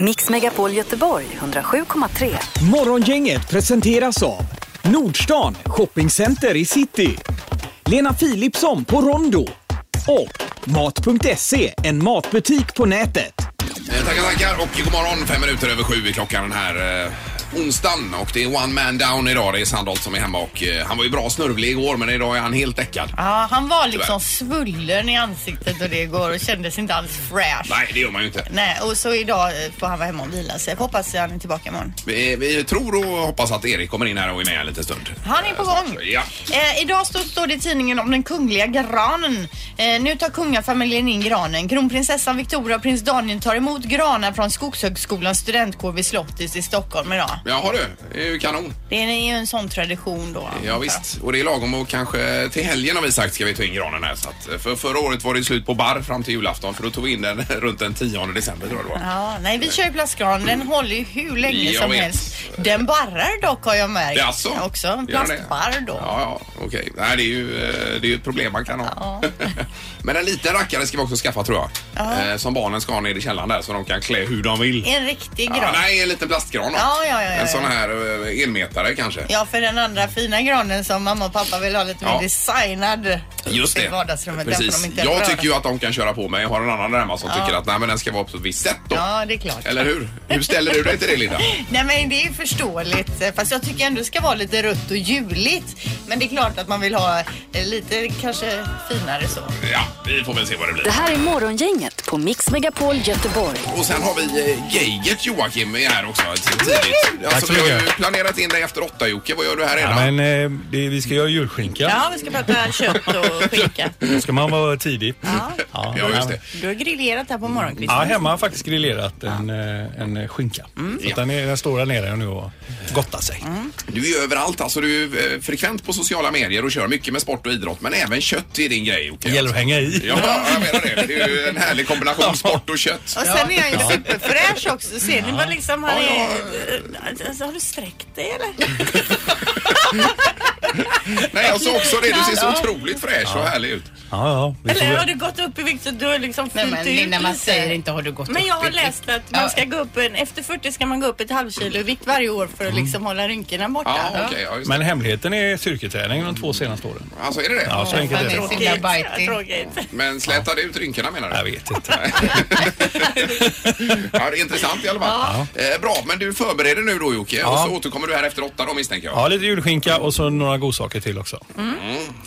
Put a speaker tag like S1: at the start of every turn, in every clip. S1: Mix Megapol Göteborg 107,3.
S2: Morgongänget presenteras av Nordstan Shoppingcenter i city. Lena Philipsson på Rondo. Och Mat.se, en matbutik på nätet.
S3: Eh, Tackar, tackar och god morgon. Fem minuter över sju är klockan den här eh, onsdagen och det är one man down idag. Det är Sandholt som är hemma och eh, han var ju bra snörvlig igår men idag är han helt däckad.
S4: Ja, han var liksom svullen i ansiktet och det igår och kändes inte alls fresh.
S3: Nej, det gör man ju inte.
S4: Nej, och så idag eh, får han vara hemma och vila sig. Jag hoppas han är tillbaka imorgon.
S3: Vi, vi tror och hoppas att Erik kommer in här och är med en liten stund.
S4: Han är på
S3: Eh, snart.
S4: gång.
S3: Ja.
S4: Eh, idag står, står det i tidningen om den kungliga granen. Eh, nu tar kungafamiljen in granen. Kronprinsessan Victoria och prins Daniel tar emot granar från Skogshögskolans studentkår vid Slottis i Stockholm idag.
S3: Jaha du, det är ju kanon.
S4: Det är ju en sån tradition då. antar
S3: Ja,
S4: jag.
S3: visst. Och det är lagom och kanske till helgen har vi sagt ska vi ta in granen här. Så att, eh, för förra året var det slut på bar fram till julafton för då tog vi in den runt den 10 december tror jag det var.
S4: Ja, nej, vi kör ju plastgran. Den håller ju hur länge
S3: Jag
S4: som
S3: vet.
S4: helst. Den barrar dock har jag märkt.
S3: Jaså?
S4: Också.
S3: Gör den
S4: En
S3: det?
S4: Plastbarr då.
S3: Ja, ja, okej. Nej, det är ju eh, det är ju ett problem man kan ha. Men en liten rackare ska vi också skaffa tror jag. Eh, Som barnen ska ha ner i källaren där så de kan klä hur de vill.
S4: En riktig gran.
S3: Ja, nej, en liten plastgran då.
S4: Ja, ja, ja, ja,
S3: En sån
S4: ja.
S3: här eh, enmetare kanske.
S4: Ja, för den andra fina granen som mamma och pappa vill ha lite
S3: Ja.
S4: mer designad
S3: Just
S4: i
S3: det.
S4: vardagsrummet. Den får
S3: Precis.
S4: De inte
S3: jag
S4: röra.
S3: tycker ju att de kan köra på mig. Jag har en annan där hemma som tycker att nej, men den ska vara på ett visst sätt då.
S4: Ja, det är klart.
S3: Eller hur? Hur ställer du dig till det Linda?
S4: Nej men det är ju förståeligt. eh, Fast jag tycker ändå det ska vara lite rött och juligt. Men det är klart att man vill ha eh, lite kanske finare så.
S3: Ja, vi får väl se vad det blir.
S1: Det här är Morgongänget på Mix Megapol Göteborg.
S3: Och sen har vi eh, Geigert Joakim är här också. Tidigt.
S5: Tack
S3: Alltså,
S5: så
S3: vi har ju
S5: mycket.
S3: planerat in dig efter åtta Jocke. Vad gör du här redan?
S5: Ja, men eh, det, vi ska göra julskinka.
S6: Ja, vi ska prata kött och skinka.
S5: Då ska man vara tidig. Ja,
S3: Ja, just det.
S6: Du har grillerat här på
S5: Ja,
S6: morgonkvisten.
S5: hemma har jag faktiskt grillerat en, eh, en skinka. Så att den, är, den står där nere nu och gottar sig.
S3: Du är ju överallt, alltså du är eh, frekvent på sociala medier och kör mycket med sport och idrott men även kött är din grej Jocke.
S5: Det gäller att hänga i.
S3: Ja, jag menar det. Det är ju en härlig kombination sport och kött.
S4: Och sen är jag ju superfräsch också. Ser ni vad liksom han
S3: Ja,
S4: är?
S6: Eh, Alltså, har du sträckt dig eller?
S3: Nej, jag sa också det. Du ser så otroligt fräsch och härlig ut.
S5: Ja, ja. Vi får
S6: Eller har
S5: väl-
S6: du gått upp i vikt så du har liksom
S7: Nej,
S6: fyllt
S7: men
S6: ut
S7: Linda, man
S6: lite?
S7: säger inte har du gått
S6: Men
S7: upp
S6: jag har
S7: i vikt.
S6: läst att man ska gå upp en, efter 40 ska man gå upp ett halvkilo i vikt varje år för att liksom hålla rynkorna borta.
S3: Ja, okej. ja, just det.
S5: Men hemligheten är styrketräning de två senaste åren.
S3: Alltså, är det det?
S5: Ja, så enkelt är det.
S7: Tråkigt.
S6: Tråkigt.
S7: Linda Bajti.
S6: Tråkigt.
S3: Men slätade ut rynkorna menar
S5: Jag
S3: du?
S5: vet inte.
S3: Ja, det är intressant i alla fall. Eh, bra, men du förbereder nu då Jocke och så återkommer du här efter åtta då misstänker jag. Mm.
S5: Ja, lite julskinka och så några godsaker till också.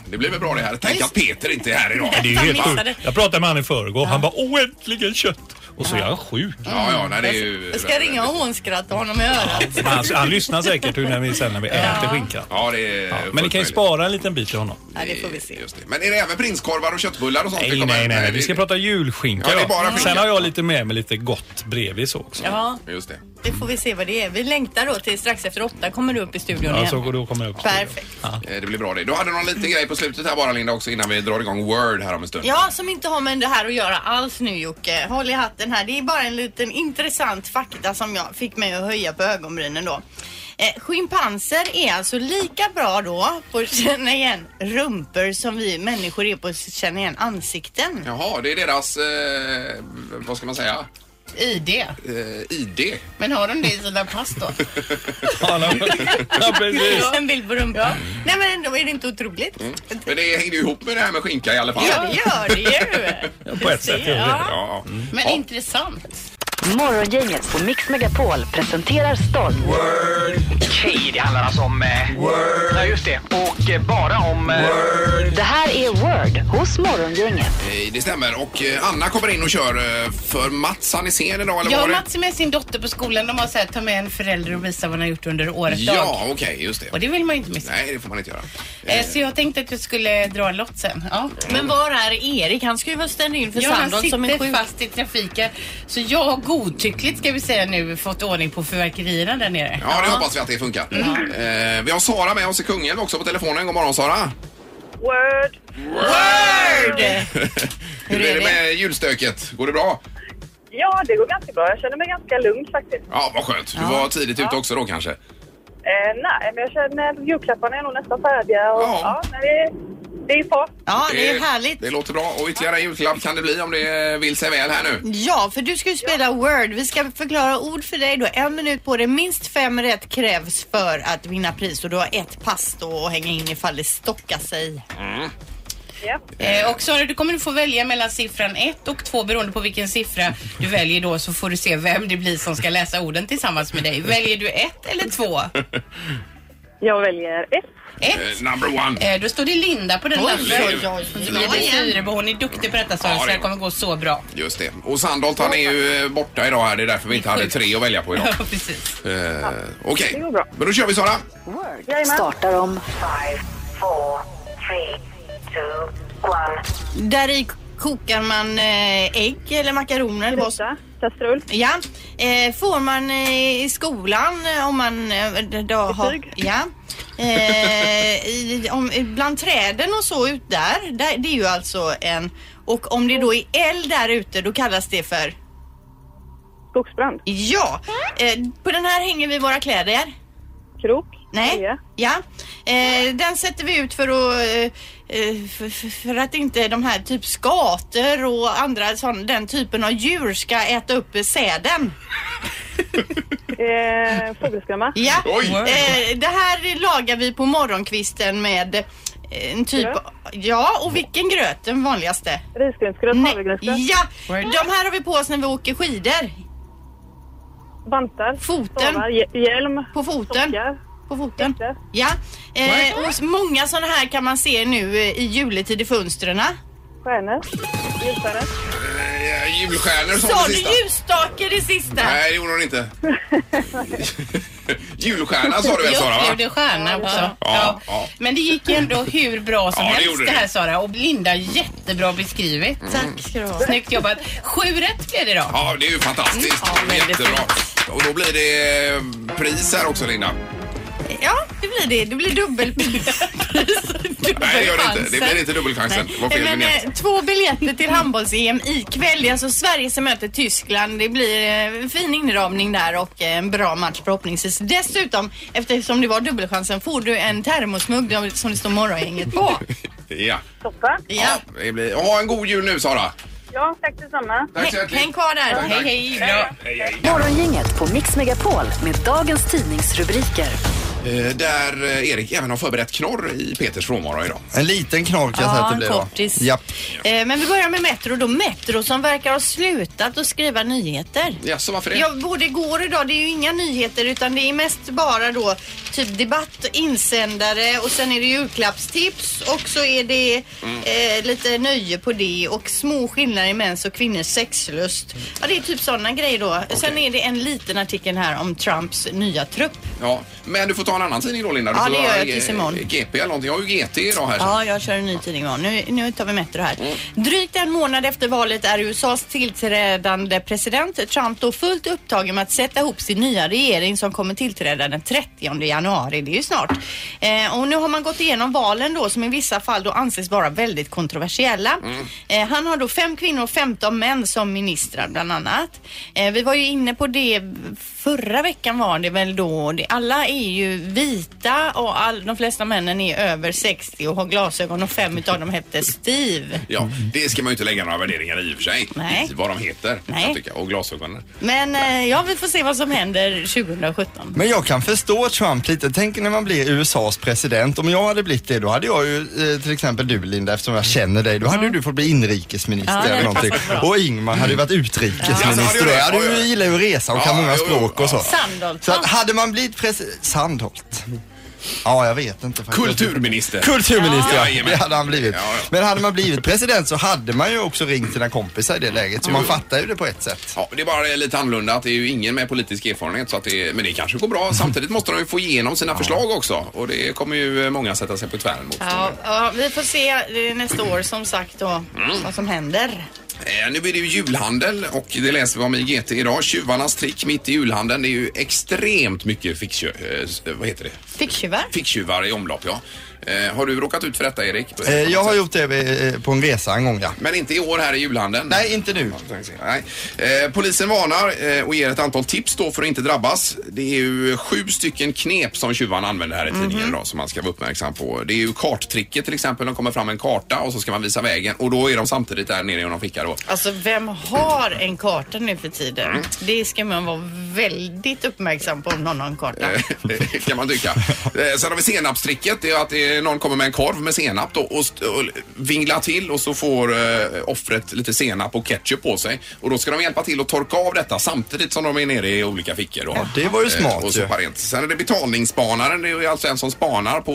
S3: Det blir väl bra det här. Tänk att Peter inte är här idag.
S5: Det är ju helt
S6: missade.
S5: sjukt. Jag pratade med han i förrgår. Han bara, åh äntligen kött! Och så är han sjuk.
S3: Ja, ja, nej det är ju...
S6: Jag ska ringa och hånskratta honom i örat.
S5: Men han, han lyssnar säkert när vi, sen när vi äter skinkan.
S3: Ja, det är...
S5: Ja, men
S3: fullt
S5: ni kan ju
S3: möjligt.
S5: spara en liten bit till honom.
S6: Ja, det får vi se.
S3: Just det. Men är det även prinskorvar och köttbullar och sånt? vi
S5: Nej,
S3: kommer-
S5: nej, nej.
S3: det-
S5: Vi ska prata julskinka.
S3: Ja, det är
S5: då.
S3: bara skinka.
S5: Sen har jag lite med mig lite gott bredvid så också.
S6: Ja,
S3: Just det.
S6: det får vi se vad det är. Vi längtar då till strax efter åtta kommer du upp i
S5: Ja,
S6: studion
S5: så
S6: igen.
S5: går- då kommer jag upp.
S6: Perfekt.
S3: Eh, Det blir bra det. Du hade någon liten grej på slutet här bara Linda också innan vi drar igång Word här om en stund.
S6: Ja, som inte har med det här att göra alls nu Jocke. Håll i hatten här. Det är bara en liten intressant fakta som jag fick mig att höja på ögonbrynen då. Eh, schimpanser är alltså lika bra då på att känna igen rumpor som vi människor är på att känna igen ansikten.
S3: Jaha, det är deras, eh, vad ska man säga,
S7: ID.
S3: eh, ID.
S7: Men har de det i sina pass då?
S5: Ja, no. ja, precis.
S6: En bild på rumpan. Nej men ändå är det inte otroligt.
S3: Men det hängde ju ihop med det här med skinka i alla fall.
S6: Ja, det gör det ju.
S5: På ett sätt gör det det.
S3: Ja, ja.
S7: Men
S3: Ja.
S7: intressant.
S1: Morgongänget på Mix Megapol presenterar stolt
S8: Okej, det handlar alltså om... Eh, Word. Ja, just det. Och eh, bara om... Eh,
S1: Det här är Word hos Morgongänget.
S3: Eh, Det stämmer. Och eh, Anna kommer in och kör eh, för Mats. Han är sen idag, eller
S7: Jag
S3: var
S7: och
S3: det?
S7: Mats är med sin dotter på skolan. De har sagt ta med en förälder och visa vad han har gjort under året.
S3: Ja,
S7: dag.
S3: okej, just det.
S7: Och det vill man ju inte missa.
S3: Nej, det får man inte göra.
S7: Eh, Så jag tänkte att jag skulle dra en lott sen. Ja.
S6: Men var är Erik? Han ska ju vara stand-in för
S7: Ja, han
S6: Sandholt som är
S7: sitter
S6: sjuk.
S7: fast i trafiken. Så jag har godtyckligt, ska vi säga nu, fått ordning på fyrverkerierna där nere.
S3: Ja, det hoppas vi att det funkar. Eh, vi har Sara med oss i Kungälv också på telefonen. God morgon Sara!
S9: Word.
S3: Hur är det med julstöket? Går det bra?
S9: Ja, det går ganska bra. Jag känner mig ganska lugn faktiskt.
S3: Ja, vad skönt. Du var tidigt ute också då kanske?
S9: Eh, nej, men jag känner julklapparna är nog nästan färdiga. Och,
S3: Ja.
S9: ja. nej, det är Det är fast.
S4: Ja, det är härligt.
S3: Det låter bra. Och ytterligare en julklapp kan det bli om det vill sig väl här nu.
S4: Ja, för du ska ju spela Word. Vi ska förklara ord för dig då. En minut på dig. Minst fem rätt krävs för att vinna pris och du har ett pass då att hänga in ifall det stockar sig.
S9: Ja.
S6: Eh, och Sara, du kommer du få välja mellan siffran 1 och 2 beroende på vilken siffra du väljer då så får du se vem det blir som ska läsa orden tillsammans med dig. Väljer du 1 eller 2?
S9: Jag väljer ett.
S6: 1.
S3: Eh, number one.
S6: Eh, då står det Linda på den
S3: Oj,
S6: lappen.
S3: oj, oj, oj.
S6: Som är lite styrig, men Hon är duktig på detta Sara
S3: Ja,
S6: så
S3: det
S6: det
S3: är
S6: här
S3: hon.
S6: kommer gå så bra.
S3: Just det. Och Sandholt han är ju eh, borta idag här. Det är därför vi inte hade tre att välja på idag.
S6: Ja, precis.
S3: Eh, Okej,
S9: Det går bra.
S3: men då kör vi Sara.
S1: Word startar om
S4: Där i kokar man eh, ägg eller makaroner eller vad som
S9: Kruta, kastrull.
S4: Ja, eh, får man eh, i skolan eh, om man eh, d- då har...
S9: Betyg?
S4: Ja. Eh, i, om, bland träden och så ut där, där, det är ju alltså en... Och om det då är eld där ute, då kallas det för...
S9: Skogsbrand.
S4: Ja, eh, på den här hänger vi våra kläder.
S9: Krok.
S4: Nej,
S9: Olja.
S4: ja. Eh, den sätter vi ut för att, eh, eh, för, för- för att inte de här typ skator och andra sån, den typen av djur ska äta upp eh, säden.
S9: Eh, fågelskrämma.
S4: Ja,
S3: Oj.
S4: eh, det här lagar vi på morgonkvisten med eh, en typ...
S9: Gröt?
S4: Ja, och vilken gröt? Den vanligaste?
S9: Risgrynsgröt,
S4: Nej,
S9: havregrynsgröt.
S4: Ja, de här har vi på oss när vi åker skidor.
S9: Bantar.
S4: Foten.
S9: Stavar. hj- Hjälm.
S4: På foten.
S9: Sockar.
S4: På foten.
S9: Jätte.
S4: Ja, eh, och s- många sådana här kan man se nu eh, i juletid i fönstren.
S9: Stjärnor. Ljusare.
S3: Eh, julstjärnor som
S4: Sa
S3: det
S4: du
S3: sista.
S4: ljusstake det sista?
S3: Nej, det gjorde hon inte. Julstjärna sa du väl Sara?
S6: Jag
S3: Va?
S6: upplevde stjärna också.
S3: Ja,
S6: Ja.
S3: ja.
S6: Men det gick ju ändå hur bra som
S3: Ja, det
S6: helst
S3: gjorde
S6: det här
S3: det.
S6: Sara och Linda jättebra beskrivet.
S4: Mm. Tack ska du ha.
S6: Snyggt jobbat. Sju rätt blev det då.
S3: Ja, det är ju fantastiskt.
S4: Mm,
S6: Ja, väldigt
S3: Jättebra. Och då blir det eh, pris här också Linda.
S4: Ja, det blir det. Det blir dubbelpris.
S3: Nej, det gör det inte. Det blir inte dubbelchansen. Det var fel
S4: Men,
S3: vignett.
S4: eh, två biljetter till handbolls-EM ikväll. Det är alltså Sverige som möter Tyskland. Det blir eh, en fin inramning där och eh, en bra match förhoppningsvis. Dessutom, eftersom det var dubbelchansen, får du en termosmugg som det står morgongänget på.
S3: Ja.
S9: Toppen.
S4: Ja.
S3: Det blir... Ha en god jul nu Sara.
S9: Ja, tack detsamma.
S3: Tack så
S4: Häng,
S3: hjärtligt.
S4: häng kvar där.
S3: Tack,
S4: Hej,
S3: tack.
S4: hej.
S6: Hej, bra.
S1: Morgongänget på Mix Megapol med dagens tidningsrubriker.
S3: Eh, Där eh, Erik även har förberett knorr i Peters frånvaro idag.
S10: En liten knorr kan jag säga
S4: Ja,
S10: att det
S4: en
S10: blir då.
S4: kortis.
S10: Japp.
S4: Eh, Men vi börjar med Metro då. Metro som verkar ha slutat att skriva nyheter.
S3: Jaså, varför det?
S4: Ja, både igår och idag. Det är ju inga nyheter utan det är mest bara då typ debatt, insändare och sen är det julklappstips och så är det eh, lite nöje på det och små skillnader i mäns och kvinnors sexlust. Ja, det är typ sådana grejer då. Sen är det en liten artikel här om Trumps nya trupp.
S3: Ja, men du får ta en annan tidning då Linda. Du
S4: Ja,
S3: får
S4: det
S3: ta,
S4: gör jag
S3: eh,
S4: tills imorgon.
S3: GP eller någonting. Jag har ju GT idag här. så-
S4: Ja, jag kör en ny tidning imorgon. Nu, nu tar vi Metro här. Drygt en månad efter valet är USAs tillträdande president Trump då fullt upptagen med att sätta ihop sin nya regering som kommer tillträda den 30 januari. Det är ju snart. Eh, och nu har man gått igenom valen då som i vissa fall då anses vara väldigt kontroversiella.
S10: Mm.
S4: Eh, han har då fem kvinnor och 15 män som ministrar bland annat. Eh, vi var ju inne på det förra veckan var det väl då. Det, alla är ju vita och all, de flesta männen är över 60 och har glasögon och fem utav dem hette Steve.
S3: Ja, det ska man ju inte lägga några värderingar i och för sig.
S4: Nej.
S3: I vad de heter,
S4: Nej.
S3: kan jag tycka. Och glasögonen.
S4: Men eh, ja, vi får se vad som händer 2017.
S10: Men jag kan förstå Trump lite. Tänk när man blir USAs president. Om jag hade blivit det, då hade jag ju eh, till exempel du Linda, eftersom jag känner dig, då hade
S3: Mm.
S10: ju du fått bli inrikesminister
S4: Ja, det
S10: eller
S4: hade
S10: någonting. Och Ingmar hade ju varit
S3: Ja, så hade
S10: utrikesminister.
S3: du
S10: då.
S3: det.
S10: Ja,
S3: Oj, oj,
S10: du
S3: oj.
S10: gillar ju att resa och kan
S3: Ja,
S10: många
S3: jo, jo.
S10: språk och så.
S4: Sandholt.
S10: Så att hade man blivit president... Sandholt? Ja, jag vet inte faktiskt.
S3: Kulturminister.
S10: Kulturminister,
S3: Ja.
S10: ja.
S3: Jajamän.
S10: Det hade han blivit.
S3: Ja, ja.
S10: Men hade man blivit president så hade man ju också ringt sina kompisar i det läget. Så man fattar ju det på ett sätt.
S3: Ja, det är bara lite annorlunda att det är ju ingen med politisk erfarenhet. Så att det, men det kanske går
S4: Mm.
S3: bra. Samtidigt måste de ju få igenom sina förslag också. Och det kommer ju många sätta sig på tvären mot.
S4: Ja, ja, vi får se eh, nästa år som sagt då
S10: Mm.
S4: vad som händer.
S3: Eh, nu är det ju julhandel och det läser vi om i GT idag. Tjuvarnas trick mitt i julhandeln. Det är ju extremt mycket fickkö... Eh, vad heter det?
S4: Ficktjuvar.
S3: Ficktjuvar i omlopp, ja. Eh, har du råkat ut för detta Erik?
S10: Eh, Jag har gjort det eh, på en resa en gång ja.
S3: Men inte i år här i julhandeln?
S10: Nej, inte nu.
S3: Nej. Eh, polisen varnar eh, och ger ett antal tips då för att inte drabbas. Det är ju sju stycken knep som tjuvarna använder här i tidningen idag som man ska vara uppmärksam på. Det är ju karttricket till exempel. De kommer fram med en karta och så ska man visa vägen och då är de samtidigt där nere i någon ficka då.
S4: Alltså vem har en karta nu för
S3: Mm.
S4: tiden? Det ska man vara väldigt uppmärksam på om någon har en karta.
S3: Eh, Det kan man tycka. Eh, Sen har vi senapstricket. Det är att det är någon kommer med en korv med senap då och, st- och vinglar till och så får eh, offret lite senap och ketchup på sig. Och då ska de hjälpa till att torka av detta samtidigt som de är nere i olika fickor. Då.
S10: det var ju
S3: Eh,
S10: smart
S3: och
S10: ju.
S3: sopa rent. Sen är det betalningsspanaren. Det är ju alltså en som spanar på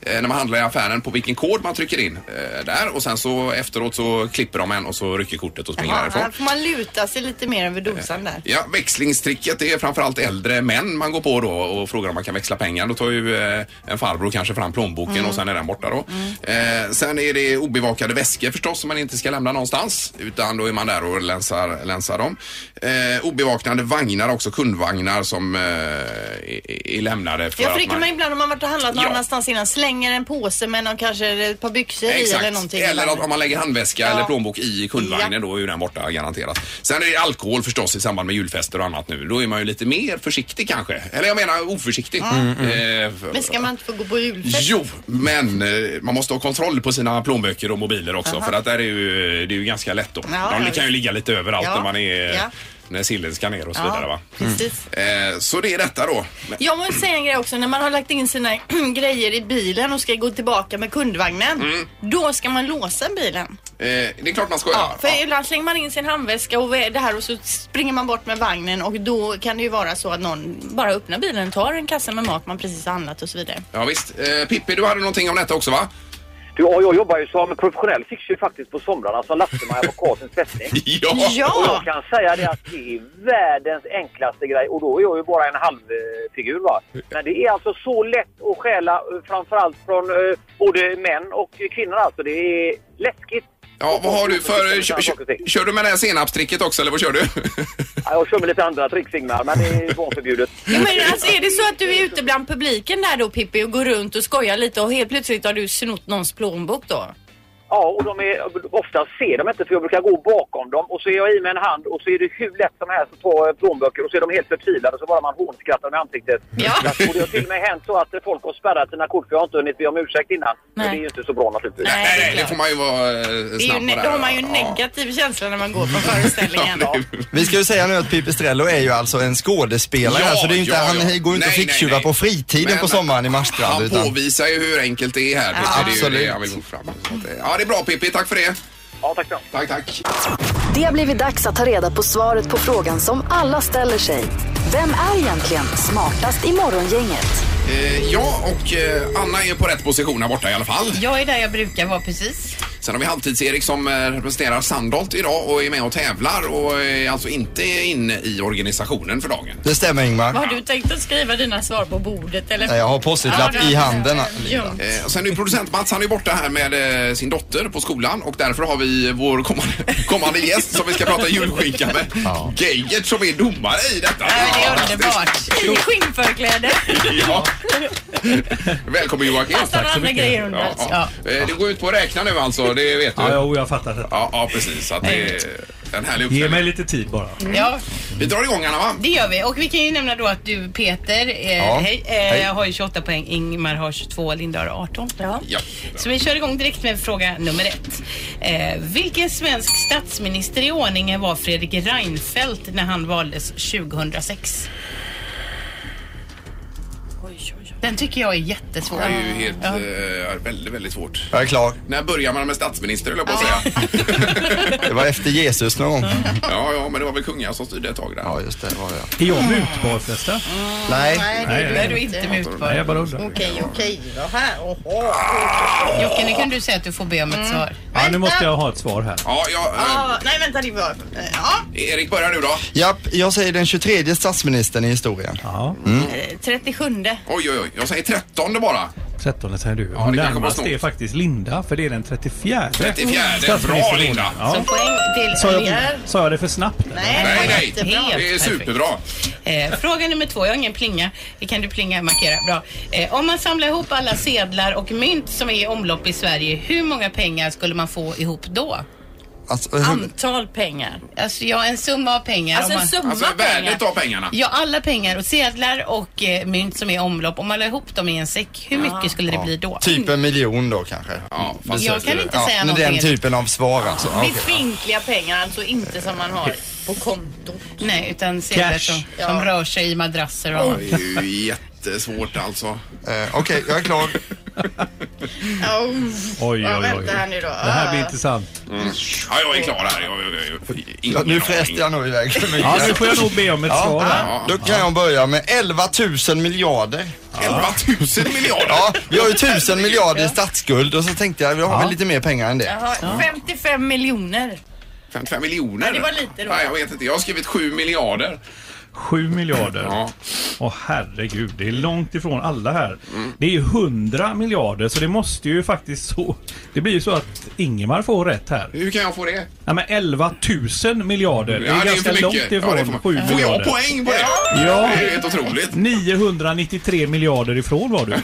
S3: eh, när man handlar i affären på vilken kod man trycker in eh, där och sen så efteråt så klipper de en och så rycker kortet och springer
S4: Ja,
S3: därifrån.
S4: här får man luta sig lite mer över dosan där.
S3: Ja, växlingstricket det är framförallt äldre män man går på då och frågar om man kan växla pengar. Då tar ju eh, en farbror kanske fram plånboken och sen är den borta då. Eh, sen är det obevakade väskor förstås som man inte ska lämna någonstans utan då är man där och länsar, länsar dem. Eh, obevaknade vagnar också, kundvagnar som eh, är, är lämnade för
S4: Jag
S3: att
S4: försöker man ibland om man varit och handlat någon
S3: Ja.
S4: annanstans innan slänger en påse med någon, kanske ett par byxor i
S3: Exakt.
S4: eller någonting.
S3: att om man lägger handväska eller plånbok i kundvagnen
S4: Ja.
S3: då är ju den borta garanterat. Sen är det alkohol förstås i samband med julfester och annat nu. Då är man ju lite mer försiktig kanske. Eller jag menar oförsiktig. Eh, för-
S4: Mm, Men ska man inte få gå på julfest?
S3: Jo, men eh, man måste ha kontroll på sina plånböcker och mobiler också för att där är ju, det är ju ganska lätt då.
S4: Ja,
S3: De
S4: ja,
S3: kan ju ligga lite överallt
S4: Ja,
S3: när man är
S4: ja.
S3: när sillen ska ner och så
S4: Ja,
S3: vidare va.
S4: precis.
S3: Eh, så det är detta då. Men-
S4: Jag måste säga en grej också. När man har lagt in sina grejer i bilen och ska gå tillbaka med kundvagnen.
S3: Mm.
S4: Då ska man låsa bilen.
S3: Eh, det är klart man ska göra.
S4: Ja, för ibland slänger man in sin handväska och det här och så springer man bort med vagnen och då kan det ju vara så att någon bara öppnar bilen, tar en kasse med mat man precis har handlat och så vidare.
S3: Ja, visst. Eh, Pippi, du hade någonting om detta också va?
S8: Du, ja, jag jobbar ju som professionell fixer faktiskt på somrarna som lasteman i advokatens tvättning. Och jag kan säga det att det är världens enklaste grej och då är jag ju bara en halvfigur va. Men det är alltså så lätt att stjäla eh, framförallt från eh, både män och kvinnor alltså. Det är läskigt.
S3: Ja,
S8: Och
S3: vad har du för...
S8: och
S3: Kör,
S8: sådana saker och ting.
S3: kör, kör du med det här senapstricket också eller vad kör du?
S8: Ja, jag kör med lite andra tricks Ingmar, men det är barnförbjudet.
S4: Ja, men alltså, är det så att du är ute bland publiken där då Pippi och går runt och skojar lite och helt plötsligt har du snott någons plånbok då?
S8: Ja, och de är, ofta ser de inte för jag brukar gå bakom dem och så är jag i med en hand och så är det hur lätt som helst att ta eh, plånböcker och så är de helt förtvivlade och så bara man hånskrattar med ansiktet.
S4: Ja.
S8: Och det har till och med hänt så att folk har spärrat sina kort för jag har inte hunnit be om ursäkt innan. Men
S4: Nej.
S8: det är ju inte så bra naturligtvis.
S4: Nej,
S3: Nej,
S4: det är
S3: nej, det
S4: klart.
S3: får man ju vara eh, snabb
S4: Det är ju
S3: på
S4: ne-
S3: där,
S4: då har man ju
S3: ja.
S4: negativ känsla när man går på föreställningen.
S3: Ja, det-
S10: Vi ska ju säga nu att Pipistrello är ju alltså en skådespelare
S3: Ja,
S10: här, så det är ju inte,
S3: ja,
S10: han
S3: ja.
S10: går ju inte
S3: Nej,
S10: och
S3: nej,
S10: ficktjuvar
S3: nej.
S10: på fritiden
S3: Men-
S10: på sommaren i Marstrand.
S3: Han
S10: Utan,
S3: påvisar ju hur enkelt det är här. Ja. Det är ju det
S10: Absolut.
S3: jag vill gå fram. Så att, eh, Ja, det är bra Pippi. Tack för det.
S8: Ja, tack så mycket.
S3: Tack, tack.
S1: Det har blivit dags att ta reda på svaret på frågan som alla ställer sig. Vem är egentligen smartast i morgongänget?
S3: Eh, ja, och eh, Anna är på rätt position här borta i alla fall.
S6: Jag är där jag brukar vara precis.
S3: Sen har vi Halvtids-Erik som eh, representerar Sandholt idag och är med och tävlar och är alltså inte inne i organisationen för dagen.
S10: det stämmer Ingmar.
S4: Har du tänkt att skriva dina svar på bordet eller? Alltså,
S10: Nej, Jag har post-it-lapp i handen.
S4: Ljumt.
S3: Eh, och sen är ju producent Mats, han är ju borta här med eh, sin dotter på skolan och därför har vi vår kommande, kommande gäst som vi ska prata julskinka med.
S10: Ja.
S3: Geijert som är domare i detta.
S6: Nej, men det är underbart.
S4: I skinnförkläde.
S3: Ja. Välkommen Joakim.
S4: Fast han har andra grejer under.
S3: Ja, ja. Eh, Det går ut på att räkna nu alltså, det vet du.
S2: Ja,
S3: Ja,
S2: jo, jag fattar det.
S3: ja precis. Så Att det är en härlig
S2: Ge mig
S3: uppställning.
S2: lite tid bara.
S6: Ja,
S3: Vi drar igång Anna va?
S6: det gör vi. Och vi kan ju nämna då att du Peter eh,
S10: Ja.
S6: hej, eh,
S10: Hej.
S6: har ju 28 poäng, Ingmar har 22 och Linda har 18.
S3: Ja.
S6: Så vi kör igång direkt med fråga nummer ett. Eh, vilken svensk statsminister i ordningen var Fredrik Reinfeldt när han valdes 2006? Den tycker jag är jättesvår.
S3: Det är ju helt,
S6: Ja.
S3: eh, väldigt, väldigt svårt.
S10: Jag är klar.
S3: När börjar man med statsminister höll jag på att säga.
S10: Det var efter Jesus någon gång.
S6: Mm.
S3: Ja, ja, men det var väl kungar som styrde ett tag där.
S10: Ja, just det. Var det.
S2: Är jag mutbar förresten?
S10: Nej.
S4: Nej, det är
S2: Nej,
S6: Är du inte
S2: Nej,
S6: mutbar?
S2: jag bara undrar.
S4: Okej, okej. då här. Oho.
S6: Jocke, nu kan du säga att du får be om ett svar.
S2: Ja, nu måste jag ha ett svar här.
S3: Ja, ja, eh,
S4: Ja, nej, vänta. Det var... eh, Ja,
S3: Erik börjar nu då.
S10: Japp, jag säger den 23 statsministern i historien.
S2: Ja.
S4: eh, 37.
S3: Oj, oj, oj. Jag säger trettonde bara.
S2: 13 säger du.
S3: Ja, det kan komma
S2: Närmast
S3: snart.
S2: är faktiskt Linda, för det är den 34.
S3: 34,
S2: Statsminister
S3: bra, Linda.
S2: Ja.
S6: Som poäng till
S2: Sa jag,
S6: er.
S2: sa jag det för snabbt?
S6: Nej, det var jättebra.
S3: Det är
S6: Perfekt.
S3: superbra. Alltså,
S6: Eh, fråga nummer två. Jag har ingen plinga. Det kan du plinga markera. Bra. Eh, om man samlar ihop alla sedlar och mynt som är i omlopp i Sverige, hur många pengar skulle man få ihop då?
S10: Alltså,
S6: Antal pengar. Alltså ja, en summa av pengar.
S4: Alltså,
S6: Om
S4: en summa
S3: Alltså värdet av pengarna.
S6: Ja, alla pengar och sedlar och eh, mynt som är i omlopp. Om man la ihop dem i en säck, hur mycket skulle det bli då?
S10: Typ en miljon då kanske.
S3: Ja, fast
S6: Jag kan inte
S10: Ja,
S6: säga
S10: men den
S6: någonting.
S10: typen av svar alltså. Ja, okej.
S4: Befintliga pengar, alltså inte som man har på kontot.
S6: Nej, utan sedlar
S2: Cash.
S6: som, som rör sig i madrasser och
S3: Ja, det är ju jättesvårt alltså.
S10: Eh, Okej, jag är klar.
S4: Oh,
S2: Oj,
S4: Ja,
S2: oj, oj.
S4: vänta här nu då.
S2: Det här blir intressant.
S3: Ja, jag är klar här. Jag, jag, jag, jag,
S10: Ja,
S3: ingen
S10: nu
S3: aning.
S10: fräste jag nog iväg för mycket.
S2: Ja, nu får jag nog be om ett
S10: Ja,
S2: svar. här.
S10: då kan jag börja med 11 000 miljarder.
S3: 11 000 miljarder.
S10: Ja, vi har ju 1000 miljarder i statsskuld och så tänkte jag, vi har
S2: Ja.
S10: väl lite mer pengar än det.
S4: Jaha, 55 miljoner.
S3: 55 miljoner.
S4: det var lite då.
S3: Nej, jag vet inte. Jag har skrivit 7 miljarder.
S2: 7 miljarder.
S3: Ja.
S2: Åh herregud, det är långt ifrån alla här. Det är ju 100 miljarder så det måste ju faktiskt så... Det blir ju så att Ingemar får rätt här.
S3: Hur kan jag få det?
S2: Ja men 11 000 miljarder. Det är
S3: ju
S2: ganska
S3: för mycket.
S2: långt ifrån
S3: det får
S2: 7
S3: man- Får jag
S2: miljarder.
S3: poäng på det?
S2: Ja.
S3: Det är ju helt otroligt.
S2: 993 miljarder ifrån var du.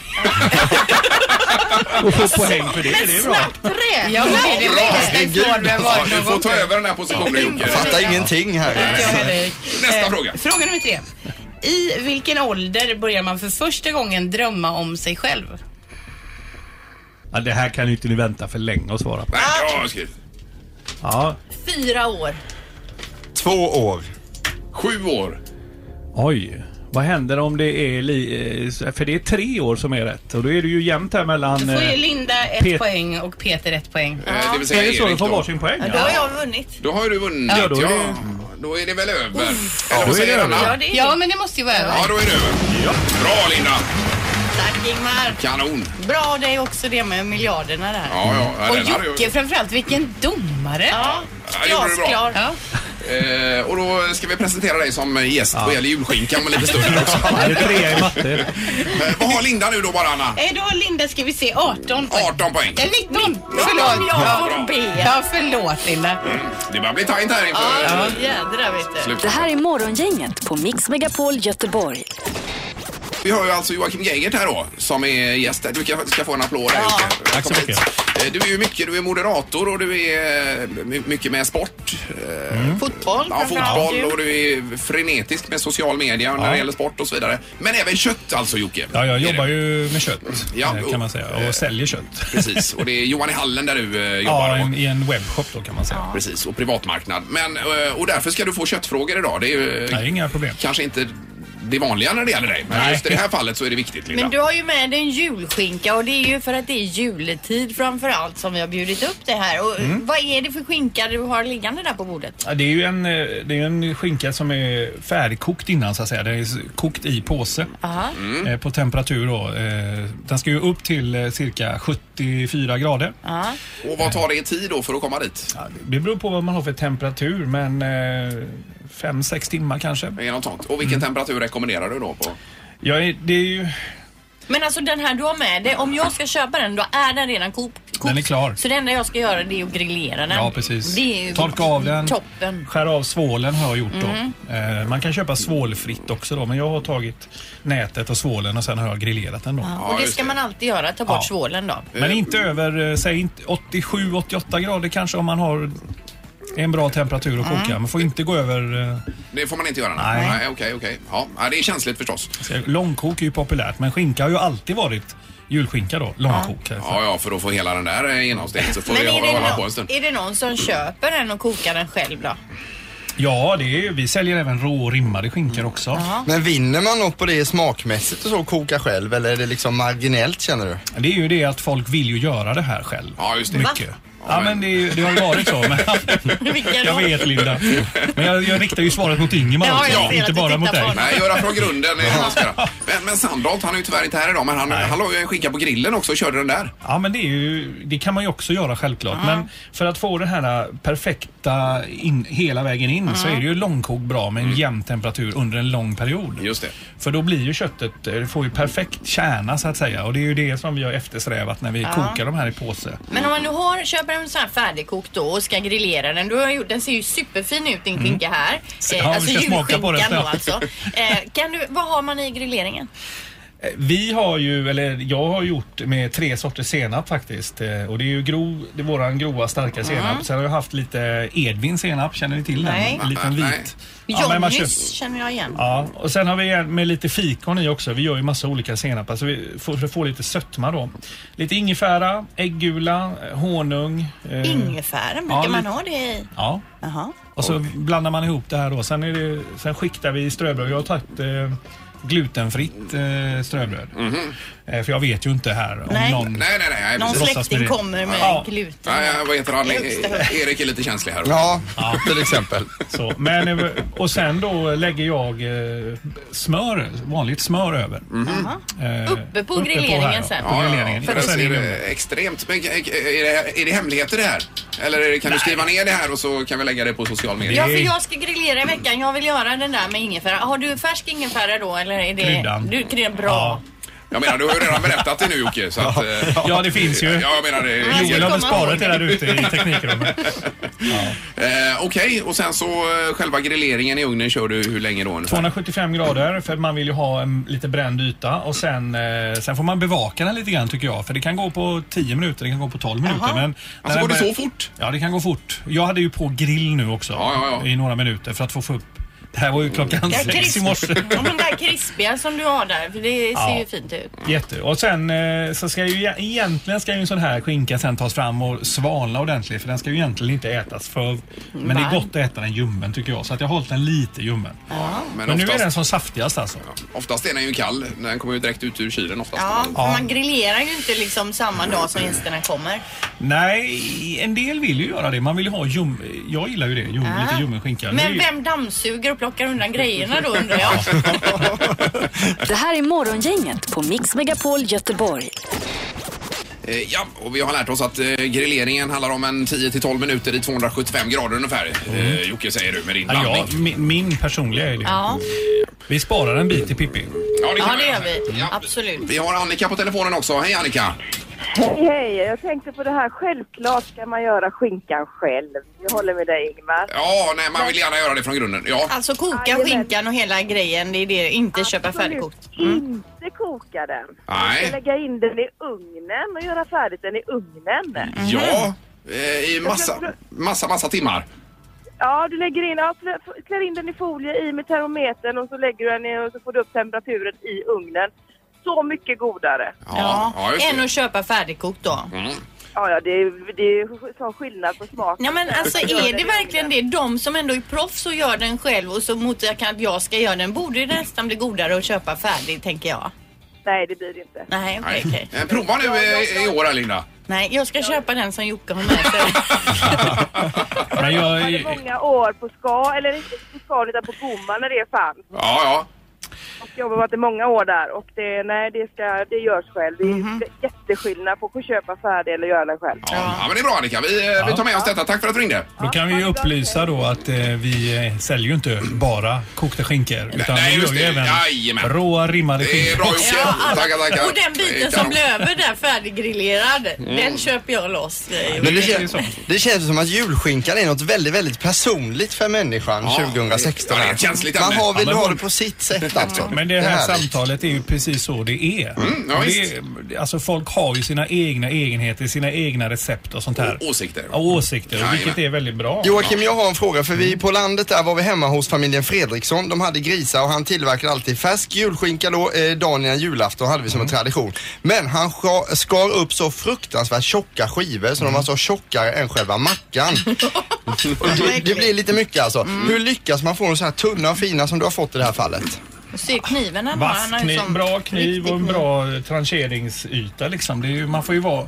S2: Och få poäng för det, det är bra.
S6: Tre! Ja, men det är det bästa ifrån vi har
S3: Ja,
S6: varit
S3: du får
S6: någon
S3: ta
S6: gång.
S3: över den här positionen, Jocke.
S10: Jag fattar ingenting här.
S6: Ja, Henrik.
S3: Nästa
S6: Eh,
S3: fråga.
S6: Fråga nummer tre. I vilken ålder börjar man för första gången drömma om sig själv?
S2: Ja, det här kan ju inte ni vänta för länge att svara på.
S3: Nej, jag har skrivit.
S2: Ja.
S4: Fyra år.
S10: Två år.
S3: Sju år.
S2: Oj. Vad händer om det är... Li- eh, för det är tre år som är rätt och då är det ju jämnt här mellan...
S6: Då får ju
S2: eh,
S6: Linda ett
S2: Pet-
S6: poäng och Peter ett poäng.
S3: Eh, Det vill
S2: Är
S3: säga
S2: det så de
S3: Erik
S2: får
S3: då.
S2: varsin poäng?
S4: Då har
S2: Ja.
S4: jag vunnit.
S3: Då har ju du vunnit. Ja,
S2: Ja,
S3: då,
S2: då är
S3: är
S2: det-
S3: det väl över. Eller vad
S2: Då är
S3: säger
S2: det över.
S3: Anna?
S4: Ja, det är
S6: Ja, men det måste ju vara över.
S3: Ja, då är det över. Bra, Linda.
S4: Tack Ingmar.
S3: Kanon.
S6: Bra, det är också det med miljarderna där.
S3: Ja, ja. ja,
S6: Och
S3: den hade jag-
S6: Jocke framförallt, vilken domare.
S4: Ja,
S3: Ja, det gjorde du bra.
S4: glasklar.
S6: Ja.
S3: Eh, och då ska vi presentera dig som gäst vad gäller julskinkan om en liten stund också.
S2: Ja, det är trea i matte.
S3: Eh, vad har Linda nu då bara Anna?
S6: Eh, Då har Linda, ska vi se, 18 poäng.
S3: 18 poäng.
S6: Eh, 19! Förlåt.
S3: Ja,
S6: Ja,
S3: bra.
S6: ja förlåt Linda.
S3: Det börjar bli tajt här inför
S4: Ja, jädrar vet du.
S3: slutet.
S1: Det här är Morgongänget på Mix Megapol Göteborg.
S3: Vi har ju alltså Joakim Geigert här då som är gäst. här. Du ska, ska få en applåd här Jocke.
S2: Tack så
S3: Välkommen
S2: mycket.
S3: hit. Eh, Du är ju mycket, du är moderator och du är eh, my- mycket med sport. Eh,
S5: Mm.
S4: Fotboll
S3: Ja,
S4: framförallt ju.
S3: fotboll och du är frenetisk med social media när det gäller sport och så vidare. Men även kött alltså Jocke.
S5: Ja, jag
S3: Är det.
S5: jobbar ju med kött
S3: Ja,
S5: eh, kan man säga
S3: eh,
S5: och säljer kött.
S3: Precis, och det är Johan i hallen där du eh, jobbar.
S5: Ja,
S3: då.
S5: en, i en webbshop då kan man säga.
S3: Precis, och privatmarknad. Men, eh, och därför ska du få köttfrågor idag. Det är ju eh,
S5: Nej, inga problem.
S3: kanske inte det vanliga när det gäller dig, men
S5: Nej.
S3: just i det här fallet så är det viktigt Linda.
S4: Men du har ju med dig en julskinka och det är ju för att det är juletid framför allt som vi har bjudit upp det här. Och
S5: Mm.
S4: Vad är det för skinka du har liggande där på bordet?
S5: Ja, Det är ju en, eh, det är ju en skinka som är färdigkokt innan så att säga. Den är s- kokt i påse
S4: Aha.
S5: eh, på temperatur då. Eh, Den ska ju upp till eh, cirka 74 grader.
S4: Ja.
S3: Och vad tar det i tid då för att komma dit?
S5: Ja, det- Det beror på vad man har för temperatur men 5-6 timmar kanske.
S3: Det är något sånt. Och
S5: Mm.
S3: vilken temperatur rekommenderar du då? På?
S5: Ja, det är ju,
S4: Men alltså den här du har med dig, om jag ska köpa den då är den redan kokt.
S5: Den är klar.
S4: Så det enda jag ska göra det är att grillera den.
S5: ja precis.
S4: Det är ju
S5: Torka av den.
S4: toppen.
S5: Skär av svålen har jag gjort då.
S4: Mm.
S5: Eh, Man kan köpa svålfritt också då men jag har tagit nätet och svålen och sen har jag grillerat den då.
S3: Ja,
S4: och det
S3: just
S4: ska
S3: det.
S4: man alltid göra, ta bort
S5: Ja.
S4: svålen då.
S5: Men inte över, eh, säg inte 87-88 grader kanske om man har en bra temperatur att koka.
S3: Mm.
S5: Man får inte gå över... eh,
S3: Det får man inte göra? nu.
S5: Nej.
S3: Nej, Okej, okej. Ja, ja, det är känsligt förstås.
S5: säg, Långkok är ju populärt men skinka har ju alltid varit julskinka då. Långkok. alltså.
S3: Ja, ja, för att få hela den där eh, genomstängt så får
S4: Men
S3: vi
S4: är det,
S3: hålla på en
S4: någon,
S3: stund.
S4: är det någon som köper den och kokar den själv då?
S5: Ja, det är, ju- vi säljer även rå och rimmade skinkor också.
S3: Mm.
S10: Men vinner man något på det smakmässigt och så koka själv eller är det liksom marginellt känner du?
S5: Det är ju det att folk vill ju göra det här själv.
S3: Ja, just det.
S5: Mycket.
S3: Ja,
S5: Ja, men det, det har ju varit så. Men, jag vet Linda. Men jag, jag riktar ju svaret mot Ingemar
S3: Ja,
S5: också,
S3: jag ser att
S5: inte
S3: du
S5: bara
S3: tittar
S5: mot
S3: på
S5: dig.
S3: honom. Nej, göra från grunden är det man ska göra. Men, men Sandholt, han är ju tyvärr inte här idag, men han, han la ju en skinka på grillen också och körde den där.
S5: Ja, men det, är ju, det kan man ju också göra självklart.
S3: Ja.
S5: Men för att få den här äh, perfekta in, hela vägen in så är det ju långkok bra med en jämn temperatur under en lång period.
S3: Just det.
S5: För då blir ju köttet, eh, det får ju perfekt kärna så att säga. Och det är ju det som vi har eftersträvat när vi
S4: Ja.
S5: kokar de här i påse.
S4: Men om man nu har, köper en sån här färdigkokt då och ska grillera den. Du har gjort, den ser ju superfin ut din
S5: Mm.
S4: skinka här. Eh, alltså,
S5: Ja, vi ska smaka på den
S4: julskinkan då
S5: sen.
S4: alltså. Eh, kan du, vad har man i grilleringen?
S5: Eh, Vi har ju, eller jag har gjort med tre sorters senap faktiskt. Eh, Och det är ju grov, det är våran grova starka senap. Sen har jag haft lite Edvin senap, känner ni till den?
S4: Nej.
S5: En liten
S4: Nej.
S5: vit.
S4: Johnnys
S5: men man köper-
S4: känner jag igen.
S5: Ja, och sen har vi en med lite fikon i också. Vi gör ju massa olika senapar så vi får, för att få lite sötma då. Lite ingefära, äggula, eh, honung. eh,
S4: Ingefära, brukar
S5: ja,
S4: man
S5: lite-
S4: ha det i?
S5: Ja.
S4: Jaha.
S5: Och så blandar man ihop det här då. Sen, är det, sen skiktar vi ströbröd. Jag har tagit eh, glutenfritt eh, ströbröd. Eh, för jag vet ju inte här om
S4: Nej.
S5: någon...
S4: Nej, nej, nej, nej, Någon precis. släkting
S5: låtsas
S4: kommer med gluten.
S3: Nej, ja, vad heter han?
S4: I högsta
S3: E- Erik är lite känslig här.
S10: Ja, till exempel.
S5: Så, men, eh, och sen då lägger jag eh, smör, vanligt smör över. Eh,
S4: Uppe på grilleringen
S5: här,
S4: Mm. sen.
S5: På
S4: Ja, ja,
S5: grilleringen.
S3: För
S5: Och
S3: det
S5: sen är
S3: ser
S5: det-
S3: eh, extremt... Men, eh, är, det, är det hemligheter det här? Eller är det, kan du skriva ner det här och så kan vi lägga det på social media?
S4: Ja, för jag ska grillera i veckan. Jag vill göra den där med ingefära. Har du färsk ingefära då eller är det...
S3: Kryddan.
S4: Du, kryddan bra. Ja.
S3: Jag menar, du har ju redan berättat det nu Jocke. Så att, eh,
S5: Ja, det finns ju.
S3: Ja, jag menar det.
S5: Joel har väl sparat det där ute i teknikrummet.
S3: Eh, Okej, och sen så eh, själva grilleringen i ugnen kör du hur länge då? ungefär?
S5: 275 grader för man vill ju ha en lite bränd yta och sen, eh, sen får man bevaka den lite grann tycker jag. För det kan gå på 10 minuter, det kan gå på 12 minuter. Men när
S3: går
S5: den
S3: det
S5: börjar-
S3: så fort?
S5: Ja, det kan gå fort. Jag hade ju på grill nu också i några minuter för att få få upp. Det här var ju klockan
S4: Ja,
S5: sex
S4: krisp-
S5: i morse.
S4: Ja, men det här krispiga som du har där, för det ser
S5: Ja.
S4: ju fint ut.
S5: Jätte. Och sen eh, så ska ju e- egentligen ska ju en sån här skinka sen tas fram och svalna ordentligt för den ska ju egentligen inte ätas
S3: Mm,
S5: för. Men det är
S3: Varm.
S5: gott att äta den ljummen tycker jag så att jag har hållit den lite ljummen.
S3: Ja,
S5: Men,
S3: men
S5: nu är
S3: oftast-
S5: den som saftigast alltså.
S3: Oftast är den ju kall. Den kommer ju direkt ut ur kylen oftast.
S4: Ja, för
S5: Ja.
S4: man grillerar ju inte liksom samma dag som gästerna kommer.
S5: Nej, en del vill ju göra det. Man vill ju ha ljum... Jag gillar ju det. Ljum,
S4: Ah.
S5: Lite ljummen skinka. Det är
S4: Men
S5: ju-
S4: vem dammsuger och plockar undan grejerna då undrar jag?
S1: Det här är Morgongänget på Mix Megapol Göteborg.
S3: Eh, Ja, och vi har lärt oss att eh, grilleringen handlar om en 10 till 12 minuter i 275 grader ungefär. Eh, Jocke säger du med din
S5: Ja,
S3: blandning.
S5: jag, min, min personliga är det.
S4: Ja,
S5: Vi sparar en bit till Pippi.
S3: Ja, det, kan
S4: ja
S3: vi
S4: det
S3: göra.
S4: gör vi. Absolut.
S3: Vi har Annika på telefonen också. Hej Annika!
S9: Hej, hej! Jag tänkte på det här. Självklart ska man göra skinkan själv. Jag håller med dig, Ingmar.
S3: Ja, nej, man vill gärna göra det från grunden. Ja.
S4: Alltså koka skinkan och hela grejen, det är det. Inte köpa färdigkokt.
S8: Mm.
S9: Inte koka den.
S3: Nej.
S9: Man ska lägga in den i ugnen och göra färdigt den i
S8: Mm.
S9: ugnen.
S4: Mm-hmm.
S3: Ja, eh, i massa, massa, massa timmar.
S9: Ja, du lägger in, ja, klä- klär in den i folie, i med termometern och så lägger du den i och så får du upp temperaturen i ugnen. Så mycket godare.
S4: Ja, Mm.
S9: ja, just det.
S4: än att köpa färdigkokt då.
S9: Ja, ja det är, det är sån skillnad på smak.
S4: Ja men alltså är det verkligen det? De som ändå är proffs och gör den själv och så mot att jag ska göra den borde ju nästan bli godare att köpa färdig tänker jag.
S9: Nej, det blir det inte.
S4: Nej, okej, okej.
S3: Eh, Prova nu eh, i år här, Linda.
S4: Nej, jag ska köpa den som Jocke har med sig.
S5: Men
S9: hade många år på ska, eller inte på skal utan på Gomma när det fanns.
S3: Ja, ja.
S9: Och jobbade varit i många år där och det, nej det, ska, det görs själv. Det är jätteskillnad på att köpa färdig eller göra den själv.
S3: Ja, men det är bra Annika. Vi, eh, vi tar med oss detta. Tack för att du ringde.
S5: Då kan vi ju upplysa då att eh, vi eh, säljer ju inte bara kokta skinkor. Utan
S3: nej,
S5: vi gör
S3: just
S5: ju
S3: det.
S5: även
S3: Jajamän.
S5: råa rimmade skinkor.
S3: Det är bra Jocke. Tackar, tackar. Eh,
S4: Och den biten som blev över där färdiggrillerad,
S5: Mm.
S4: den köper jag loss. eh,
S10: Men det,
S4: Jocke.
S10: kän, det känns som att julskinkan är något väldigt, väldigt personligt för människan 2016.
S5: ja, det är ett känsligt
S10: Man
S5: ämne.
S10: har, vill
S5: Ja, men-
S10: ha det på sitt sätt alltså.
S5: Men det här
S10: är härligt.
S5: samtalet är ju precis så det är.
S10: Mm, ja,
S5: Och
S10: visst.
S5: det är alltså folk har ju sina egna egenheter, sina egna recept och sånt här.
S3: Och åsikter.
S5: Ja, åsikter, vilket är väldigt bra.
S10: Joakim, jag har en fråga. För vi på landet där var vi hemma hos familjen Fredriksson. De hade grisar och han tillverkade alltid färsk julskinka då, eh, dagen innan julafton hade vi som en
S5: Mm.
S10: tradition. Men han ska- skar upp så fruktansvärt tjocka skivor
S5: Mm.
S10: så de var så tjockare än själva mackan. Och det, det blir lite mycket alltså.
S5: Mm.
S10: Hur lyckas man få dem så här tunna och fina som du har fått i det här fallet?
S4: Ser kniven han har,
S5: Vass
S4: han har ju
S5: kniv,
S4: sån
S5: bra kniv
S4: riktig
S5: och en bra trancheringsyta liksom. Det är ju, man får ju vara...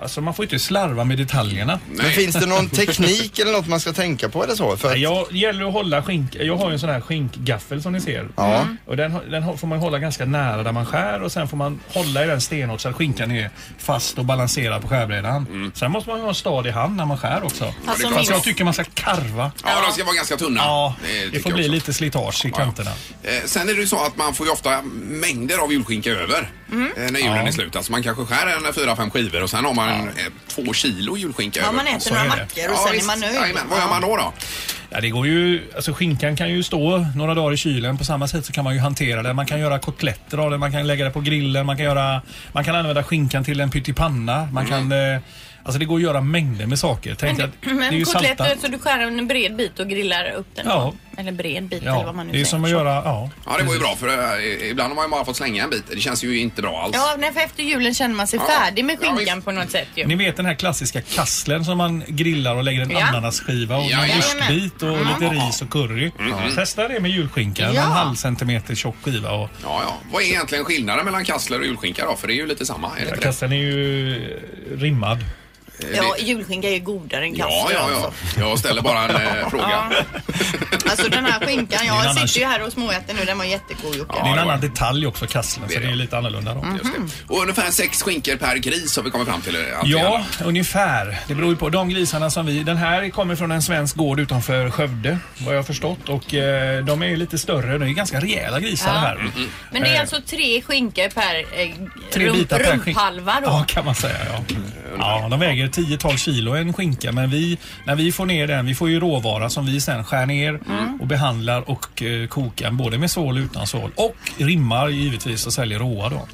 S5: Alltså man får inte slarva med detaljerna.
S10: Men finns det någon teknik eller något man ska tänka på eller så? För att,
S5: Nej, Jag det gäller att hålla skink. Jag har ju en sån här skinkgaffel som ni ser.
S10: Ja.
S3: Mm.
S5: Och den, har- den har- får man hålla ganska nära där man skär och sen får man hålla i den stenhårt så att skinkan är fast och balanserad på skärbrädan.
S3: Mm.
S5: Sen måste man ju ha en stadig hand när man skär också.
S3: Alltså,
S5: Fast jag
S3: minst-
S5: tycker man ska karva.
S3: Ja, de ska vara ganska tunna.
S5: Ja,
S3: tycker
S5: det får
S3: jag
S5: bli
S3: också.
S5: lite slitage i kanterna.
S3: Eh, Sen är det ju så att man får ju ofta mängder av julskinka över
S4: Mhm.
S3: eh, när julen
S5: Ja.
S3: är slut. Alltså man kanske skär en fyra, fem skivor och sen har man eh, två kilo julskinka
S4: Ja,
S3: över.
S4: man äter
S5: Så
S4: några
S5: är det.
S4: mackor och sen är man nöjd.
S3: Jajamän. Vad gör man då? då?
S5: Ja, det går ju, alltså skinkan kan ju stå några dagar i kylen. På samma sätt så kan man ju hantera det. Man kan göra kotletter av det, man kan lägga det på grillen, man kan, göra, man kan använda skinkan till en pyttipanna. Man kan, eh, alltså det går att göra mängder med saker. Tänk att det är
S4: Men
S5: ju salta.
S4: kotletter, så du skär en bred bit och grillar upp den?
S5: Ja.
S4: Eller bred bit eller
S5: Ja,
S4: vad man nu
S5: det är
S4: säger.
S5: som att göra, ja.
S3: Ja, det var ju bra för eh, ibland har man ju bara fått slänga en bit. Det känns ju inte bra alls.
S4: Ja, nej, för efter julen känner man sig
S3: Ja.
S4: färdig med
S3: Ja,
S4: skinkan
S3: visst.
S4: på något sätt ju.
S5: Ni vet den här klassiska kasslen som man grillar och lägger en
S4: Ja.
S5: ananasskiva och
S3: Ja,
S5: en
S4: jajamän.
S5: ostbit och lite ris och curry. Testa det med julskinka, en
S4: Ja.
S5: halv centimeter tjock skiva. Och,
S3: Ja, ja. Vad är egentligen skillnaden mellan kassler och julskinka då? För det är ju lite samma, är det inte det?
S5: kasslen är ju eh, rimmad.
S4: Ja, julskinka är godare än
S3: Ja,
S4: kastrullen
S3: ja, ja.
S4: alltså.
S3: Jag ställer bara en eh, fråga.
S4: Ja. Alltså den här skinkan,
S5: Det är en
S4: jag
S5: annan-
S4: sitter ju här och småäter nu, den var jättegod Jocke.
S5: det är
S3: det
S5: en
S3: var
S5: annan detalj också, kasslen,
S3: Det är
S5: så det är
S3: det.
S5: lite annorlunda då.
S3: Just det. Och ungefär sex skinkor per gris har vi kommit fram till. eh, att vi
S5: Ja,
S3: gör.
S5: ungefär. Det beror ju på. De grisarna som vi... Den här kommer från en svensk gård utanför Skövde, vad jag har förstått. Och eh, de är ju lite större. De är ganska rejäla grisar
S4: Ja.
S5: det här.
S4: Men det är
S5: Eh,
S4: alltså tre skinkor per eh,
S5: Tre
S4: rump-
S5: bitar per skinka.
S4: rumphalva då?
S5: Ja, kan man säga. Ja. ja, de väger 10-12 kilo en skinka. Men vi, när vi får ner den, vi får ju råvara som vi sen skär ner och behandlar och eh, kokar både med sål och utan sål. Och rimmar givetvis och säljer råa då.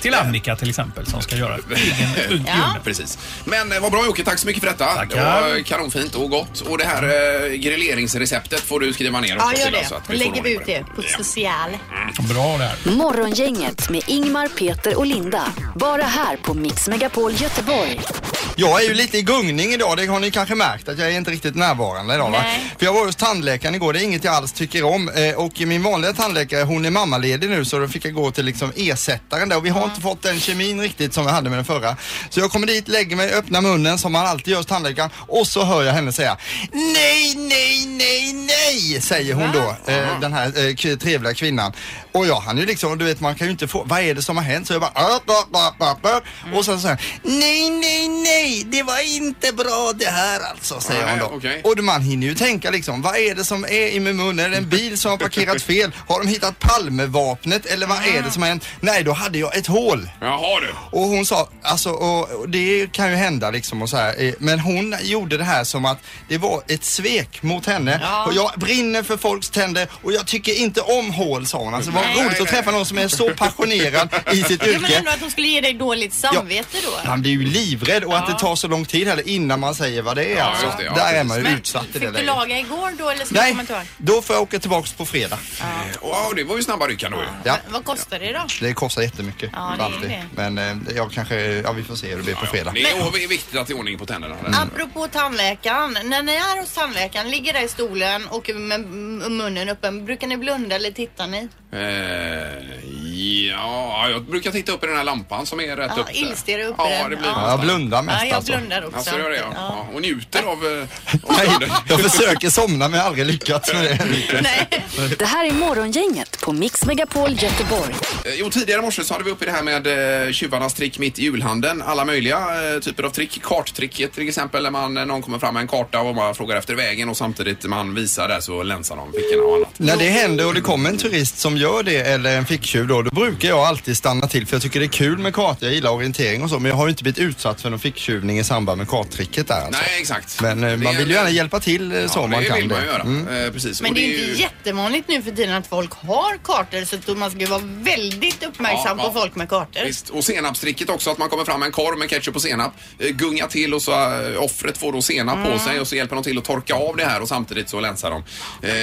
S5: Till Annika till exempel som ska göra egen ugn.
S4: Ja.
S3: Precis. Men eh, vad bra Jocke, tack så mycket för detta.
S5: Tackar.
S3: Det var eh, kanonfint och gott. Och det här eh, grilleringsreceptet får du skriva ner
S4: Ja,
S3: också,
S4: gör
S3: Silla,
S4: det.
S3: Alltså, så att
S4: Då
S3: vi får
S4: lägger vi
S3: ordning
S4: ut det på
S3: Ja.
S4: social.
S5: Bra där.
S1: Morgongänget med Ingmar, Peter och Linda. Bara här på Mix Megapol Göteborg.
S10: jag är ju lite i gungning idag, det har ni kanske märkt att jag är inte riktigt närvarande idag va?
S4: Nej.
S10: För jag var hos tandläkaren igår, det är inget jag alls tycker om. Eh, och min vanliga tandläkare hon är mammaledig nu så då fick jag gå till liksom ersättaren där och vi har inte fått den kemin riktigt som jag hade med den förra. Så jag kommer dit, lägger mig, öppnar munnen som man alltid gör hos tandläkaren och så hör jag henne säga Nej, nej, nej, nej säger hon då, eh, den här eh, k- trevliga kvinnan. Och jag han ju liksom, du vet man kan ju inte få, vad är det som har hänt? Så jag bara "Upp, upp, upp, upp, upp."
S3: Mm.
S10: och sen så säger hon, Nej, nej, nej, det var inte bra det här alltså säger hon
S3: Nej,
S10: då.
S3: okej.
S10: Och man hinner ju tänka liksom, vad är det som är i min mun? Är det en bil som har parkerat fel? Har de hittat Palmevapnet eller vad
S3: Ah.
S10: är det som har hänt? Nej, då hade jag ett hål.
S3: Jaha du.
S10: Och hon sa, alltså och, och det kan ju hända liksom och så här. eh, Men hon gjorde det här som att det var ett svek mot henne.
S4: Ja.
S10: Och jag brinner för folks tänder och jag tycker inte om hål sa hon. Alltså det var
S4: Nej.
S10: roligt att träffa någon som är så passionerad i sitt
S4: Jo, men
S10: yrke.
S4: ändå att de skulle ge dig dåligt samvete då.
S10: Han blir ju livrädd och att det tar så lång tid heller innan man säger vad det är. alltså.
S3: just det, ja,
S10: Där är
S3: precis.
S10: man ju
S4: Men
S10: utsatt i det
S4: Fick du
S10: läget.
S4: laga igår då eller så
S10: Nej,
S4: kommer du ihåg?
S10: då får jag åka tillbaks på fredag.
S3: Wow, det var ju snabba ryckar då ju.
S10: Ja. Mm.
S4: Va- Vad kostar det då?
S10: Det kostar jättemycket.
S4: Ja, det är
S10: alltid.
S4: det.
S10: Men eh, jag kanske, ja vi får se hur det blir på fredag.
S3: Det är det är viktigt att det är ordning på tänderna. där.
S4: Apropå tandläkaren, när ni är hos tandläkaren, ligger där i stolen och med m- munnen öppen, brukar ni blunda eller tittar ni?
S3: Eh, ja, jag brukar titta upp i den här lampan som är rätt
S4: Ja,
S3: upp där.
S4: ilster är uppe i
S3: Ja,
S4: den.
S3: det blir
S4: Ja.
S10: Ja, jag blundar mest
S4: Ja, jag
S10: alltså.
S4: blundar också.
S3: Alltså, gör det, ja. Ja. Och njuter av... eh,
S10: Nej, jag försöker somna men jag har aldrig lyckats med det.
S4: Nej.
S1: Det här är Morgongänget på Mix Megapol Göteborg.
S3: Eh, Jo, tidigare i morse så hade vi uppe det här med eh, tjuvarnas trick mitt i julhandeln. Alla möjliga eh, typer av trick. Karttricket till exempel, när man, eh, någon kommer fram med en karta och man frågar efter vägen och samtidigt man visar där så länsar de fickorna och annat.
S10: När det händer och det kommer en turist som gör det eller en ficktjuv då, då brukar jag alltid stanna till för jag tycker det är kul med kartor, jag gillar orientering och så men jag har ju inte blivit utsatt för någon ficktjuvning i samband med karttricket där alltså.
S3: Nej, exakt.
S10: Men eh,
S3: Det
S10: man
S3: är-
S10: vill ju gärna hjälpa till eh,
S3: Ja,
S10: så om man
S3: det
S10: kan
S3: vill man ju
S10: det.
S3: göra.
S10: Mm.
S3: Eh, precis.
S4: Men
S3: Och
S4: det är ju
S3: ju-
S4: inte jättevanligt nu för tiden att folk har kartor så att man ska ju vara väldigt uppmärksam
S3: Ja, ja.
S4: på folk med kartor.
S3: Visst, och senapstricket också, att man kommer fram med en korv med ketchup och senap, eh, gunga till och så eh, offret får då senap på sig och så hjälper de till att torka av det här och samtidigt så länsar de.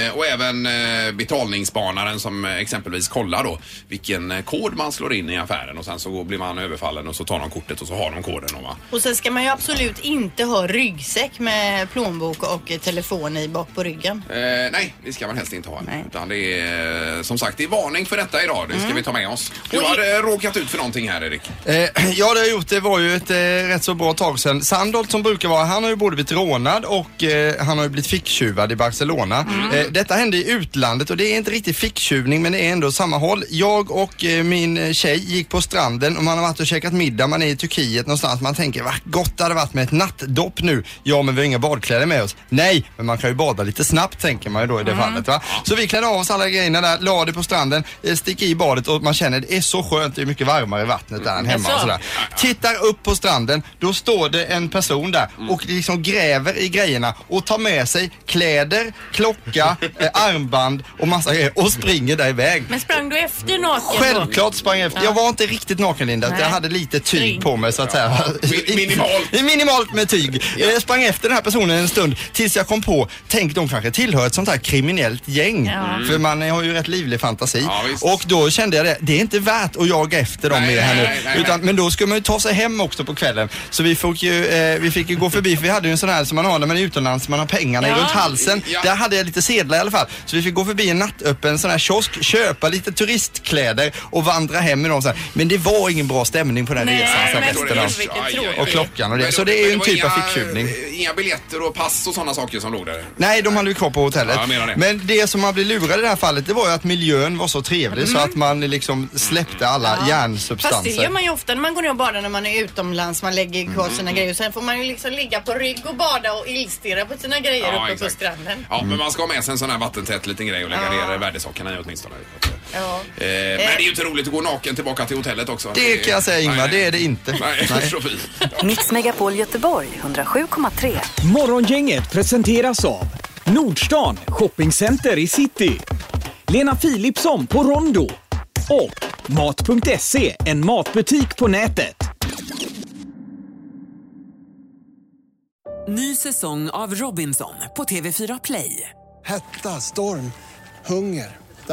S3: Eh, och även eh, eh, betalningsspanaren som eh, exempelvis kollar då vilken eh, kod man slår in i affären och sen så går- blir man överfallen och så tar de kortet och så har de koden. Och va?
S4: Och sen ska man ju absolut inte ha ryggsäck med plånbok och eh, telefon i bak på ryggen.
S3: Eh, nej, det ska man helst inte ha. Utan det är eh, som sagt, det är varning för detta idag. Det ska vi ta med oss. Du har eh, råkat ut för någonting här Erik.
S10: Eh, ja, det har jag gjort. Det var ju ett eh, rätt så bra tag sedan. Sandholt som brukar vara, han har ju både blivit rånad och eh, han har ju blivit ficktjuvad i Barcelona. Eh, detta hände i utlandet och det är inte riktigt ficktjuvning men det är ändå samma håll. Jag och eh, min eh, tjej gick på stranden och man har varit och käkat middag, man är i Turkiet någonstans. Man tänker, vad gott det hade varit med ett nattdopp nu. Ja, men vi har inga badkläder med oss. Nej, men man kan ju bada lite snabbt tänker man ju då i det fallet. Va? Så vi klädde av oss alla grejerna där, la det på stranden, eh, stick i badet och man känner det är så skönt, det är mycket varmare i vattnet där än hemma och sådär. Tittar upp på stranden, då står det en person där och liksom gräver i grejerna och tar med sig kläder, klocka, eh, armband och massa grejer och springer där iväg.
S4: Men sprang du efter naken? då?
S10: Självklart sprang jag efter. Jag var inte riktigt naken Linda.
S4: Nej.
S10: Jag hade lite tyg på mig så att säga.
S3: Mi- minimalt.
S10: Minimalt med tyg. Jag sprang efter den här personen en stund tills jag kom på, tänk de kanske tillhör ett sånt här kriminellt gäng. Mm. För man har ju rätt livlig fantasi.
S3: Ja, visst.
S10: och då kände jag det, det är inte värt att jaga efter dem
S3: Nej,
S10: mer här
S3: nej,
S10: nu.
S3: nej, nej,
S10: Utan,
S3: nej.
S10: Men då skulle man ju ta sig hem också på kvällen. Så vi fick ju, eh, vi fick ju gå förbi, för vi hade ju en sån här som man har när man är utomlands, man har pengarna runt halsen.
S3: Ja.
S10: Där hade jag lite sedlar i alla fall. Så vi fick gå förbi en nattöppen sån här kiosk, köpa lite turistkläder och vandra hem med dem sen. Men det var ingen bra stämning på den här resan. så
S3: Jag
S10: här
S4: men
S3: förstår
S10: resten av-
S4: gud, vilken
S3: Aj, aj,
S4: tråkig.
S3: aj.
S10: Och klockan och det.
S3: Men
S10: Så det är ju
S3: men
S10: en
S3: var
S10: typ av
S3: inga-
S10: ficktjuvning.
S3: Inga biljetter och pass och sådana saker som låg där.
S10: Nej, de hade vi kvar på hotellet.
S3: Ja, jag menar det.
S10: Men det som man blev lurad i det här fallet, det var ju att miljön var så trevlig så att man liksom släppte alla
S4: Mm. Fast det
S10: hjärnsubstanser.
S4: gör man ju ofta när man går ner och badar när man är utomlands. Man lägger kvar
S3: Mm.
S4: sina grejer. Sen får man ju liksom ligga på rygg och bada och illstirra på sina grejer
S3: Ja,
S4: uppe
S3: exakt.
S4: på stranden.
S3: Ja, men man ska ha med sig en sån här vattentät liten grej och lägga ner värdesockorna i åtminstone.
S4: Ja.
S3: Eh, men det är ju inte roligt att gå naken tillbaka till hotellet också.
S10: Det kan jag säga Ingmar,
S3: Nej,
S10: det är det inte.
S3: Nej,
S10: Nej.
S3: Sofie.
S1: Mix Megapol Göteborg 107,3.
S11: Morgongänget presenteras av Nordstan Shoppingcenter i city. Lena Philipsson på Rondo. Och Mat.se, en matbutik på nätet.
S12: Ny säsong av Robinson på TV4 Play.
S8: Hetta, storm, hunger. Det